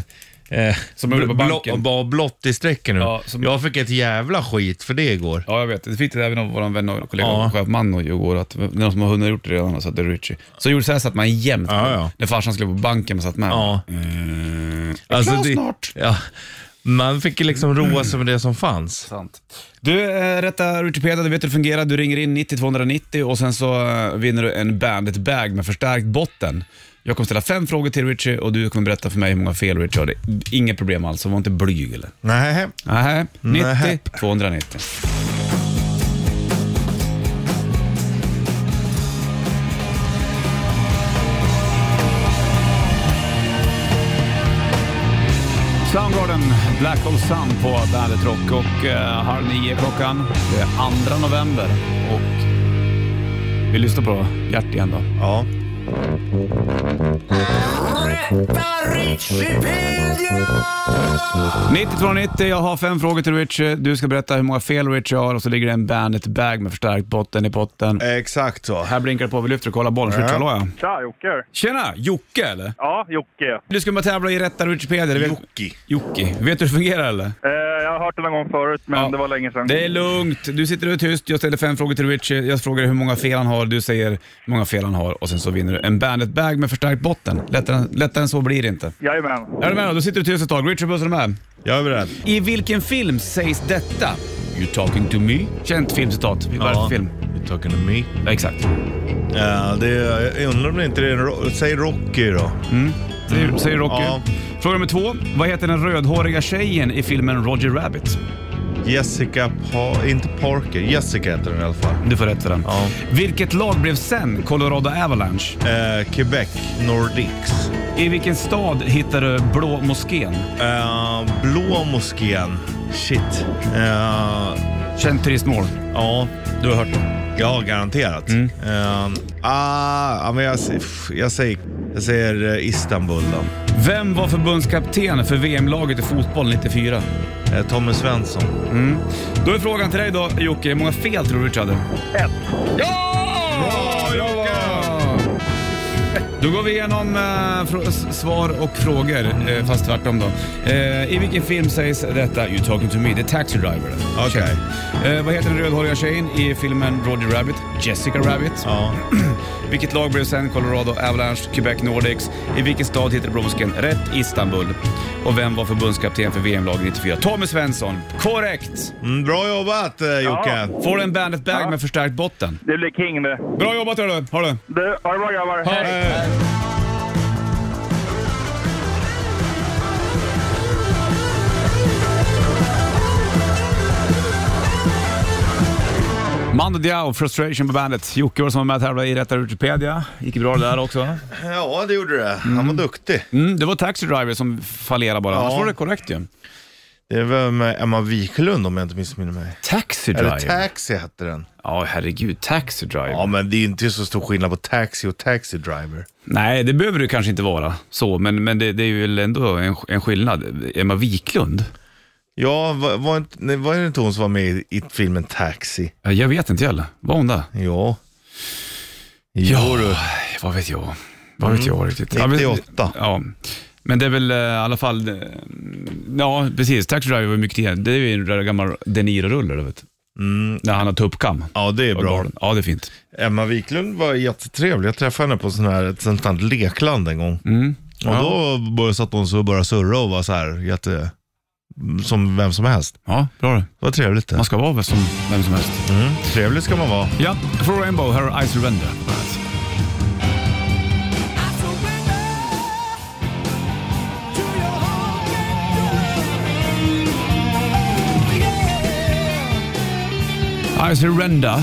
S3: eh,
S2: Som jag gjorde på
S3: bl-
S2: banken.
S3: bara blått i strecken nu.
S2: Ja, som-
S3: Jag fick ett jävla skit för det igår.
S2: Ja, jag vet. Det fick det även av vår vän och kollega
S3: Ja.
S2: och chef Manno igår, att det är någon som har hunnit gjort det redan, så att det är Richie. Så gjorde så här satt man jämt
S3: Ja, ja.
S2: när farsan skulle på banken och satt med.
S3: Ja.
S2: Mm. Alltså, klar
S3: det-
S2: snart.
S3: Ja. Man fick ju liksom roa sig med det som fanns.
S2: Sant. Du, eh, rätta Wikipedia, du vet hur det fungerar. Du ringer in 90-290 och sen så eh, vinner du en Bandit Bag med förstärkt botten. Jag kommer ställa fem frågor till Richie och du kommer berätta för mig hur många fel Richie har. Det är Inget problem alls, var inte blyg eller?
S3: Nej.
S2: Nähä,
S3: Nähä.
S2: 90-290. Soundgarden, Black Hole Sun på Bandet Rock och eh, halv nio klockan. Det är 2 november och vi lyssnar på Gert igen då.
S3: Ja.
S6: Wikipedia!
S2: 9290, jag har fem frågor till Richie. Du ska berätta hur många fel Richie har och så ligger det en Bandit Bag med förstärkt botten i potten.
S3: Exakt så.
S2: Här blinkar det på, vi lyfter och kollar bollen. Switch, hallå ja.
S7: Tja, Ah, Jocke.
S2: Tjena, Jocke eller?
S7: Ja, Jocke.
S2: Du ska bara tävla i rätta Wikipedia. det vet-
S3: Jocke. Mm.
S2: Jocke. Vet du hur det fungerar eller?
S7: Eh, jag har hört det någon gång förut, men
S2: Ja.
S7: det var länge sedan.
S2: Det är lugnt. Du sitter och är tyst. Jag ställer fem frågor till Richie. Jag frågar hur många fel han har. Du säger hur många fel han har och sen så vinner du en Bandit Bag med förstärkt botten. Lättare, lättare än så blir det inte.
S7: Jajamän.
S2: Är du med då? Då sitter du tyst ett tag. Richie bussar med.
S3: Jag är beredd.
S2: I vilken film sägs detta? You talking to me? Känt filmcitat. Vad är det för film?
S3: You're talking to me.
S2: Ja, exakt.
S3: Ja, det är, jag undrar om det inte är en ro- Säg Rocky då.
S2: Säger, säger Rocky.
S3: Ja.
S2: Fråga nummer två. Vad heter den rödhåriga tjejen i filmen Roger Rabbit?
S3: Jessica, pa- inte Parker. Jessica heter den i alla fall.
S2: Du får rätt för den.
S3: Ja.
S2: Vilket lag blev sen Colorado Avalanche?
S3: Eh, Quebec, Nordics.
S2: I vilken stad hittar du Blå moskén?
S3: Eh, Blå moskén. Shit. Eh,
S2: Känt turistmål.
S3: ja, du har hört det. Ja, garanterat. Mm. ah, ja, men jag, s- pff, jag säger, jag säger eh, Istanbul då.
S2: Vem var förbundskapten för VM-laget i fotboll 94?
S3: Eh, Tommy Svensson.
S2: Då är frågan till dig då, Jocke. Hur många fel tror du Richard? Ett. Ja! Bra, Jocke! Då går vi igenom eh, fr- s- svar och frågor, eh, fast tvärtom då. Eh, I vilken film sägs detta? You talking to me, the taxi driver.
S3: Okej.
S2: Eh, vad heter den rödhåriga tjejen i filmen Roger Rabbit? Jessica Rabbit.
S3: Mm. Ja.
S2: Vilket lag blev sen Colorado Avalanche, Quebec Nordics? I vilken stad hittade Blåmuskeln rätt? Istanbul. Och vem var förbundskapten för VM-laget 94? Tommy Svensson. Korrekt!
S3: Mm, bra jobbat eh, Jocke.
S2: Får en Bandet Bag med förstärkt botten.
S7: Det blir king det.
S2: Bra jobbat hörru! Ha det!
S7: Du, ha det bra grabbar. Hej.
S2: Mando Diao, Frustration på bandet. Jocke var som var med och tävlade i Rätta Wikipedia. Gick bra det där också.
S3: Ja, det gjorde det. Han var duktig.
S2: Mm, det var Taxi Driver som fallerade bara, annars var det korrekt ju.
S3: Det var med Emma Wiklund om jag inte missminner mig.
S2: Taxi
S3: Eller
S2: Driver?
S3: Taxi hette den.
S2: Ja, herregud. Taxi Driver.
S3: Ja, men det är inte så stor skillnad på Taxi och Taxi Driver.
S2: Nej, det behöver det kanske inte vara så, men, men det, det är väl ändå en, en skillnad. Emma Wiklund?
S3: Ja, var, var, inte, nej, var det inte hon som var med i, i filmen Taxi?
S2: Ja, Jag vet inte heller. Var hon där?
S3: Ja.
S2: Ja, vad vet jag? Vad
S3: Mm.
S2: vet jag riktigt? Ja, men-
S3: 98.
S2: Ja, men det är väl eh, i alla fall... eh, Ja, precis. Taxi Driver var mycket igen. Det är ju en röd gammal De Niro-rulle, du vet. När han har tuppkam.
S3: Mm. Ja, det är
S2: Och
S3: bra.
S2: galen. Ja, det är fint.
S3: Emma Wiklund var jättetrevlig. Jag träffade henne på sån här, ett sånt här lekland en gång. Och då började, satt hon så och började surra och var så här jätte... Som vem som helst.
S2: Ja, bra det.
S3: Det var trevligt det.
S2: Man ska vara väl som vem som helst.
S3: Mm. Trevlig ska man vara.
S2: Ja, For Rainbow, här är Ice Surrender. I surrender.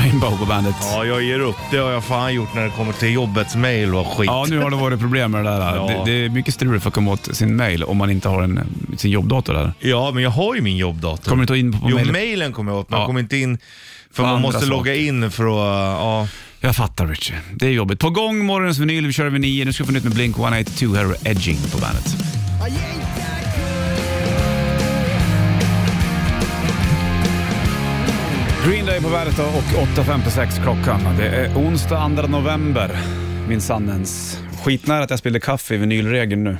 S2: Rainbow på bandet.
S3: Ja, jag ger upp. Det har jag fan gjort när det kommer till jobbets mail och skit.
S2: Ja, nu har det varit problem med det där.
S3: Ja.
S2: Det, det är mycket strul för att komma åt sin mail om man inte har en, sin jobbdator där.
S3: Ja, men jag har ju min jobbdator.
S2: Kommer du inte in på
S3: Jo,
S2: mailen?
S3: mailen kommer jag åt. Man
S2: Ja.
S3: kommer inte in, för
S2: Och
S3: man
S2: andra
S3: måste logga
S2: saker.
S3: in för att... Ja,
S2: Jag fattar Richie. Det är jobbigt. På gång morgonens vinyl. Vi kör vid nio. Nu ska vi få nytt med Blink 182 här och Edging på bandet. Green Day på bandet då och 8.56 klockan. Det är onsdag 2 november. Min sannens. Skitnära att jag spillde kaffe i vinylregeln nu.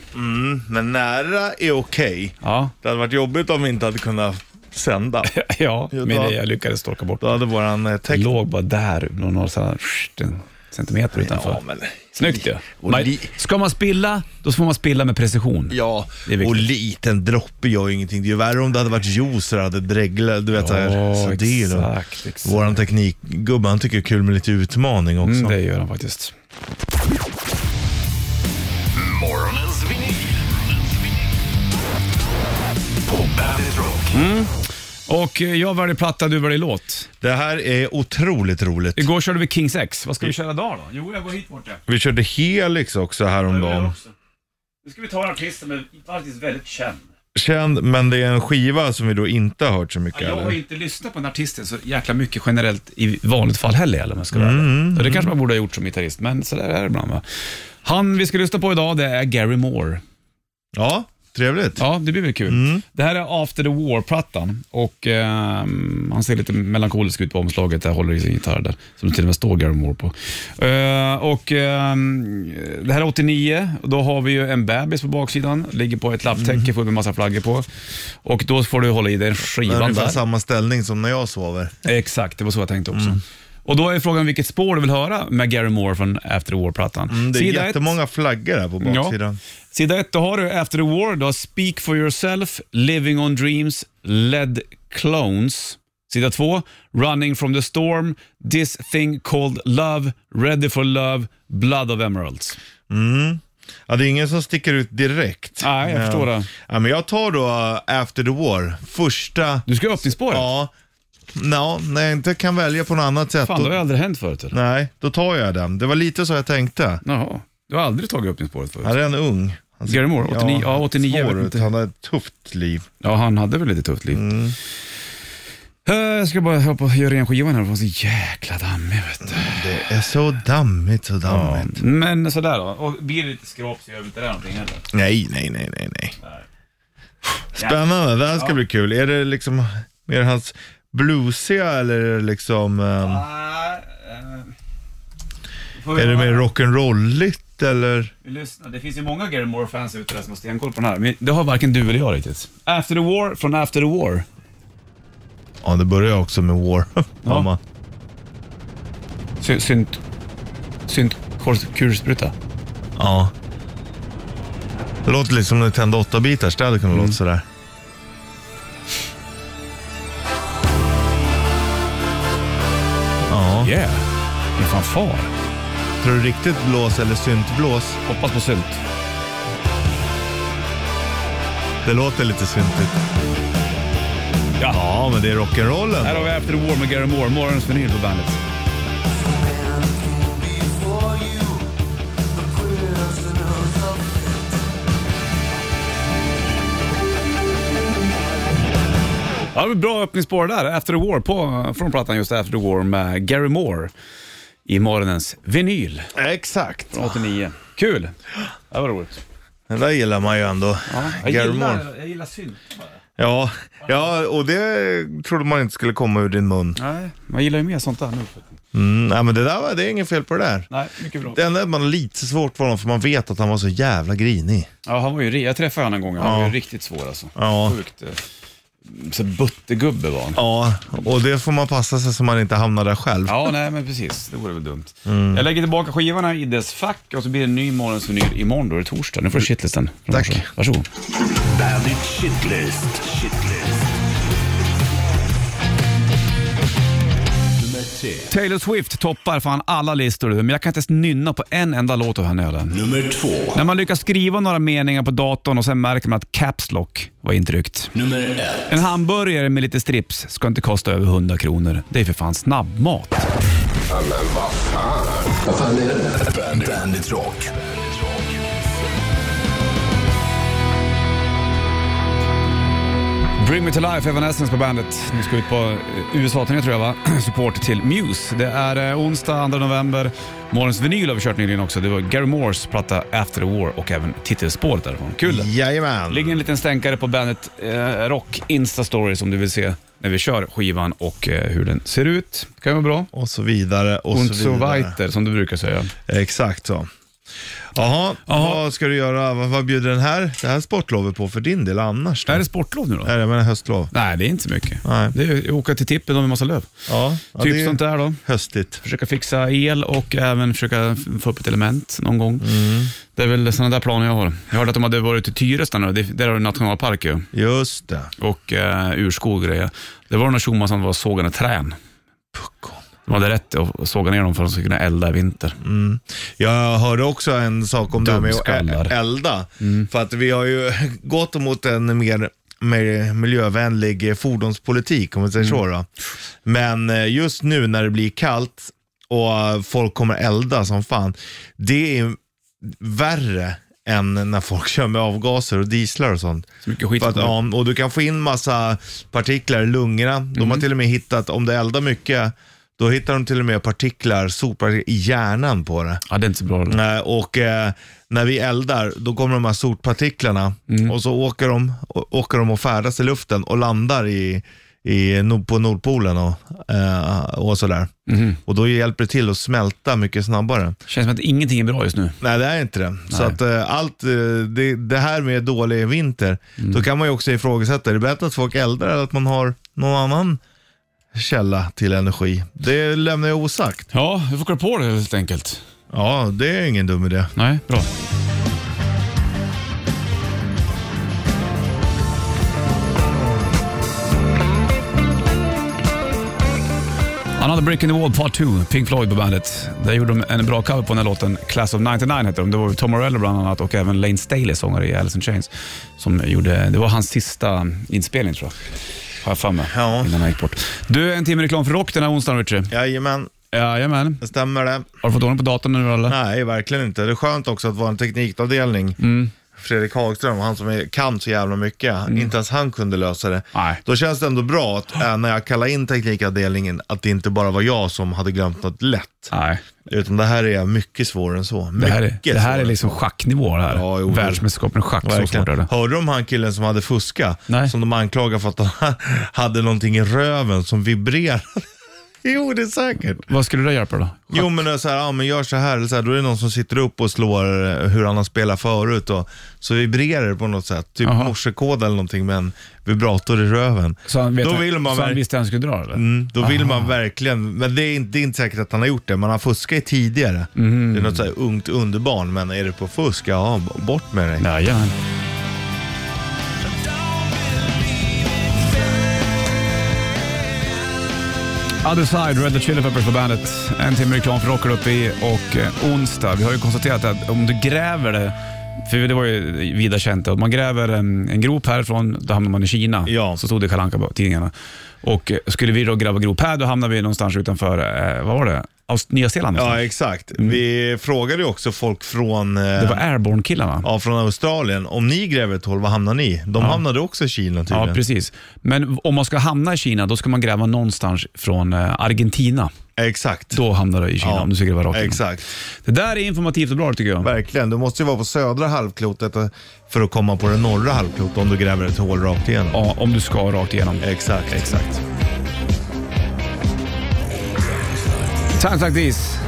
S3: men nära är okej.
S2: Ja,
S3: Det hade varit jobbigt om vi inte hade kunnat sända.
S2: ja
S3: Jo,
S2: men
S3: då-
S2: det jag lyckades torka bort.
S3: Då hade våran eh, tekniker...
S2: Låg bara där, någon några sådana, en centimeter utanför.
S3: Ja, men...
S2: Snyggt ju.
S3: Och
S2: Man-
S3: li-
S2: Ska man spilla, då får man spilla med precision.
S3: Ja,
S2: Det är viktigt.
S3: och liten droppe gör ju ingenting. Det är ju värre om det hade varit juice och det hade dreglat. Du vet, så här.
S2: Ja,
S3: så det är ju då.
S2: exakt, exakt.
S3: Våran teknikgubbe, han tycker det är kul med lite utmaning också.
S2: Mm, det gör han faktiskt.
S5: Morgonens vinyl.
S2: Mm. Och eh, jag väljer platta, du väljer låt.
S3: Det här är otroligt roligt.
S2: Igår körde vi Kings X. Vad ska vi
S3: Mm.
S2: köra idag då? Jo, jag går hit borta.
S3: Vi körde Helix också häromdagen.
S2: Nu ska vi ta en artist som är faktiskt väldigt känd.
S3: Känd, men det är en skiva som vi då inte har hört så mycket.
S2: Jag har
S3: eller?
S2: inte lyssnat på den artisten så jäkla mycket generellt i vanligt fall heller, eller om jag ska vara mm, Det kanske man borde ha gjort som gitarrist, men sådär är det ibland va. Han vi ska lyssna på idag, det är Gary Moore.
S3: Ja, trevligt.
S2: Ja, det blir väl kul.
S3: Mm.
S2: Det här är After the War-plattan och ehm, han ser lite melankolisk ut på omslaget. Där håller i sin gitarr där, som det till och med står Gary Moore på. Eh, och, ehm, det här är 89 och då har vi ju en bebis på baksidan. Ligger på ett lapptäcke,
S3: Mm.
S2: får med massa flaggor på. Och då får du hålla i den
S3: Det är
S2: skivan
S3: ungefär
S2: där.
S3: samma ställning som när jag sover.
S2: Exakt, det var så jag tänkte
S3: Mm.
S2: också. Och då är frågan vilket spår du vill höra med Gary Moore från After the War-plattan.
S3: Mm, det är
S2: Sida ett.
S3: jättemånga flaggor här på baksidan.
S2: Sida ett, då har du After the War, då Speak for yourself, Living on Dreams, Led Clones. Sida två, Running from the Storm, This thing called Love, Ready for Love, Blood of Emeralds.
S3: Ja, det är ingen som sticker ut direkt.
S2: Nej, jag
S3: Ja.
S2: förstår det.
S3: Ja, men jag tar då uh, After the War, första.
S2: Du ska ju öppningsspåret.
S3: Ja, no, när jag inte kan välja på något annat sätt.
S2: Fan, det
S3: då,
S2: har ju aldrig hänt förut. Eller?
S3: Nej, då tar jag den. Det var lite så jag tänkte.
S2: Jaha, du har aldrig tagit öppningsspåret förut?
S3: Han är en ung. Han ser
S2: Gary Moore, 89, ja, 89 jag
S3: svår
S2: vet
S3: ut.
S2: inte.
S3: Han har ett tufft liv.
S2: Ja, han hade väl lite tufft liv. Eh, Jag ska bara hoppa och göra ren skivan här, för den är så jäkla dammig vet du.
S3: Det är så dammigt, så dammigt.
S2: Men sådär då, och blir det lite skrap så gör vi inte det någonting heller.
S3: Nej, nej, nej, nej, nej. Spännande, det här ska bli kul. Är det liksom mer hans bluesiga eller är det liksom... ehm,
S2: eh,
S3: är det mer rock'n'rolligt eller?
S2: Lyssna, det finns ju många Gary Moore-fans ute där som har stenkoll på den här, men det har varken du eller jag riktigt. After the War från After the War.
S3: Ja, det börjar också med War. Mamma.
S2: Sy- Synt... Synt... Kulspruta.
S3: Ja. Det låter lite som när du tände åtta bitar Det hade kunnat låta sådär. Ja.
S2: Yeah! Men fan far.
S3: Tror du riktigt blås eller syntblås?
S2: Hoppas på synt.
S3: Det låter lite syntigt.
S2: Ja.
S3: Ja, men det är rock'n'rollen.
S2: Här har vi After the War med Gary Moore, morgonens vinyl på bandet. Ja, det var bra öppningsspår där, After the War, på, från plattan just After the War med Gary Moore i morgonens vinyl
S3: Exakt.
S2: från 89. Kul! Det var roligt.
S3: Den där gillar man ju ändå. Gary Moore.
S2: jag gillar synt.
S3: Ja. ja, och det trodde man inte skulle komma ur din mun.
S2: Nej, man gillar ju mer sånt där nu.
S3: Mm, nej, men det där var, det är inget fel på det där.
S2: Nej, mycket bra.
S3: Det enda man har lite svårt för honom, för man vet att han var så jävla grinig.
S2: Ja, han var ju, jag träffade honom en gång, han var
S3: Ja.
S2: ju riktigt svår alltså.
S3: Ja.
S2: Sjukt. eh, Så buttergubbe var han.
S3: Ja, och det får man passa sig så man inte hamnar där själv.
S2: Ja, nej men precis. Det vore väl dumt. Jag lägger tillbaka skivorna i dess fack och så blir det en ny morgons vinyl imorgon då, det är torsdag. Nu får du shitlisten. från
S3: Tack.
S2: morse. Varsågod.
S1: Bandit Shitlist. Shitlist.
S4: Met
S5: succé.
S2: Taylor Swift toppar fan alla listor men jag kan inte ens nynna på en enda låt av henne. Eller?
S5: Nummer två.
S2: När man lyckas skriva några meningar på datorn och sen märker man att Caps Lock var intryckt.
S5: Nummer ett.
S2: En hamburgare med lite strips ska inte kosta över 100 kronor. Det är för fan snabbmat.
S5: Bandit, Bandit Rock.
S2: Bring Me To Life, Evanescence på bandet. Nu ska vi ut på eh, USA-turné tror jag va? Support till Muse. Det är eh, onsdag 2 november. Morgons vinyl har vi kört nyligen också. Det var Gary Moores platta After the War och även titelspåret därifrån. Kul!
S3: Jajamän.
S2: ligger en liten stänkare på bandet eh, Rock Insta Stories om du vill se när vi kör skivan och eh, hur den ser ut. Det kan ju vara bra.
S3: Och så vidare och
S2: Und
S3: så
S2: so
S3: vidare.
S2: weiter, som du brukar säga.
S3: Exakt så. Jaha,
S2: Jaha.
S3: vad ska du göra? Vad, vad bjuder den här, det här sportlovet på för din del annars? Då?
S2: Är det sportlov nu då?
S3: Nej, jag menar höstlov.
S2: Nej, det är inte så mycket.
S3: Eh. Nej.
S2: Det är ju åka till tippen med massa löv.
S3: Ja, ja,
S2: typ
S3: det är
S2: sånt där då.
S3: Höstigt.
S2: Försöka fixa el och även försöka få upp ett element någon gång. Det är väl sådana där planer jag har. Jag hörde att de hade varit i Tyresta nu. Det- Där har du nationalpark ju.
S3: Just det.
S2: Och eh, urskog och grejer. Det var någon tjomma som var sågande trän.
S3: Puckon.
S2: De hade rätt att såga ner dem för att de skulle kunna elda i vinter.
S3: Jag hörde också en sak om det här med att
S2: Dumskallar.
S3: ä- elda. För att vi har ju gått mot en mer mer miljövänlig fordonspolitik, om man säger så. Då. Men eh, just nu när det blir kallt och eh, folk kommer elda som fan, det är värre än när folk kör med avgaser och dieslar och sånt.
S2: Så mycket skit
S3: För att,
S2: som-
S3: ja, och du kan få in massa partiklar i lungorna. De har till och med hittat, om det eldar mycket, då hittar de till och med partiklar, sopar i hjärnan på det.
S2: Ja, det är inte så bra. det.
S3: Nej, Och eh, när vi eldar, då kommer de här sotpartiklarna och så åker de, å- åker de och färdas i luften och landar i, i, nord- på Nordpolen och, eh, och sådär. Och då hjälper det till att smälta mycket snabbare.
S2: Känns som att ingenting är bra just nu.
S3: Nej, det är inte det. Så
S2: Nej.
S3: att eh, allt, eh, det, det här med dålig vinter,
S2: Mm.
S3: då kan man ju också ifrågasätta, är det bättre att folk eldar eller att man har någon annan källa till energi? Det lämnar jag osagt.
S2: Ja, vi får kolla på det helt enkelt.
S3: Ja, det är ingen dum idé.
S2: Nej, bra. Another Brick in the Wall Part 2, Pink Floyd på bandet. Där gjorde de en bra cover på den här låten, Class of 99 hette de. Det var ju Tom Morello bland annat och även Lane Staley, sångare i Alice in Chains. Som gjorde, det var hans sista inspelning tror jag. Har jag för mig.
S3: Ja.
S2: Innan han gick bort. Du, en timme reklam för rock den här onsdagen Richard.
S3: Jajamän,
S2: Jajamän.
S3: det stämmer det.
S2: Har du fått ordning på datorn nu eller?
S3: Nej, verkligen inte. Det är skönt också att vara en teknikavdelning.
S2: Mm.
S3: Fredrik Hagström, han som är, kan så jävla mycket, inte ens han kunde lösa det.
S2: Nej.
S3: Då känns det ändå bra att eh, när jag kallade in teknikavdelningen, att det inte bara var jag som hade glömt något lätt.
S2: Nej.
S3: Utan det här är mycket svårare än så.
S2: Det här, är,
S3: Mycket
S2: det här är
S3: svårare.
S2: liksom schacknivå det här.
S3: Ja, jo, det-
S2: Världsmästerskapen i schack, så
S3: Verkligen.
S2: svårt är det.
S3: Hörde du om han killen som hade fuskat?
S2: Nej.
S3: Som de anklagar för att han hade någonting i röven som vibrerade. jo, det är säkert.
S2: Vad skulle det hjälpa då?
S3: Jo men det är så här, ja, men gör så här, eller så här, då är det någon som sitter upp och slår eh, hur han har spelat förut och så vibrerar det på något sätt. Typ
S2: Jaha.
S3: morsekod eller någonting med en vibrator i röven.
S2: Så han, vet
S3: då vill man
S2: så han
S3: verkligen-
S2: visste han skulle dra eller?
S3: Mm, då vill man verkligen, men det är, inte, det är inte säkert att han har gjort det, men han fuskar ju tidigare.
S2: Mm.
S3: Det är något så här ungt underbarn, men är det på fusk, ja b- bort med dig.
S2: Jajamän. Other Side, Red Hot Chili Peppers på bandet. En timme reklam för rockar upp i och eh, onsdag. Vi har ju konstaterat att om du gräver det, för det var ju vida känt, om man gräver en, en grop härifrån, då hamnar man i Kina.
S3: Ja.
S2: Så stod det i Kalanka på tidningarna. Och eh, skulle vi då gräva grop här, då hamnar vi någonstans utanför, eh, vad var det? Aust- Nya Zeeland
S3: Ja,
S2: någonstans. Mm.
S3: exakt. Vi frågade ju också folk från, eh,
S2: Det var Airborne-killarna.
S3: ja, från Australien, om ni gräver ett hål, var hamnar ni? De hamnade också i Kina tydligen.
S2: Ja, precis. Men om man ska hamna i Kina, då ska man gräva någonstans från eh, Argentina.
S3: Exakt.
S2: Då hamnar du i Kina,
S3: Ja,
S2: om du ska gräva rakt in.
S3: Exakt.
S2: Det där är informativt och bra tycker jag.
S3: Verkligen, du måste ju vara på södra halvklotet eh, för att komma på det norra halvklotet om du gräver ett hål rakt igenom.
S2: Ja, om du ska rakt igenom.
S3: Exakt. Exakt.
S2: Times like this.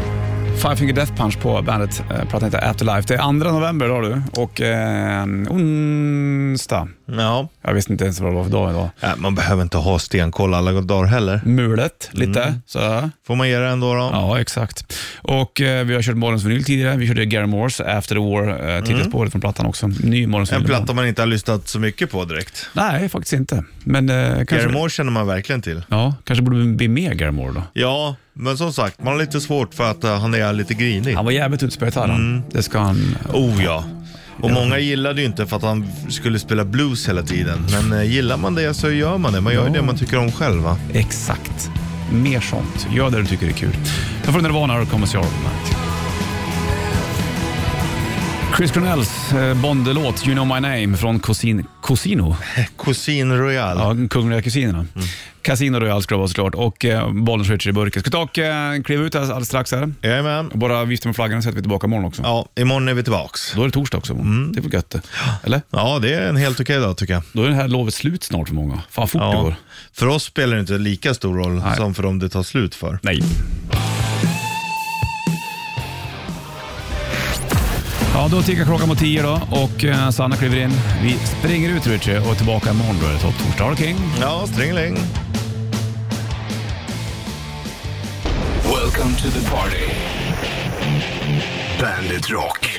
S2: Five Finger Death Punch på bandet. eh, Plattan heter Afterlife. Det är 2 november idag du och eh, onsdag.
S3: Ja.
S2: Jag visste inte ens vad det var för dag idag.
S3: Äh, man behöver inte ha stenkoll alla dagar heller.
S2: Mulet lite.
S3: Mm.
S2: Så.
S3: Får man ge det ändå då?
S2: Ja, exakt. Och eh, vi har kört Morgons vinyl tidigare. Vi körde Gary Moores After the War, eh, titelspåret från plattan också. Ny Morgons
S3: Mm. En
S2: vinyl.
S3: platta man inte har lyssnat så mycket på direkt.
S2: Nej, faktiskt inte. Men eh, kanske...
S3: Gary Moore känner man verkligen till.
S2: Ja, kanske borde vi bli med Gary Moore då.
S3: Ja, men som sagt, man har lite svårt för att eh, han är lite grinig.
S2: Han var jävligt utspädd här han.
S3: Mm.
S2: Det ska han...
S3: Oh ja. Och många gillade ju inte för att han skulle spela blues hela tiden. Men eh, gillar man det så gör man det. Man gör ju det man tycker om själv va?
S2: Exakt. Mer sånt. Gör det du tycker är kul. Här får du Nirvana och Commons Your Night. Chris Cornells eh, Bond-låt You know my name från Cosin- Cosino.
S3: Cousin Royal.
S2: Ja, Kungliga Kusinerna.
S3: Mm.
S2: Casino Royale ska det vara såklart och eh, bollen switchar i burken. Ska ta och eh, kliva ut alldeles strax här.
S3: Jajamän.
S2: Bara vifta med flaggan så att vi är tillbaka imorgon också.
S3: Ja, imorgon är vi tillbaks.
S2: Då är det torsdag också. Det är väl gött det. Eller?
S3: Ja, det är en helt okej dag tycker jag.
S2: Då är det här lovet slut snart för många. Fan fort det
S3: Ja.
S2: går.
S3: För oss spelar det inte lika stor roll
S2: Nej.
S3: som för dem det tar slut för.
S2: Nej. Ja, då tickar klockan mot tio då och eh, Sanna kliver in. Vi springer ut Richie och är tillbaka imorgon då är det topptorsdag. Ha det King.
S3: Ja, stringeling.
S5: Welcome to the party. Bandit Rock.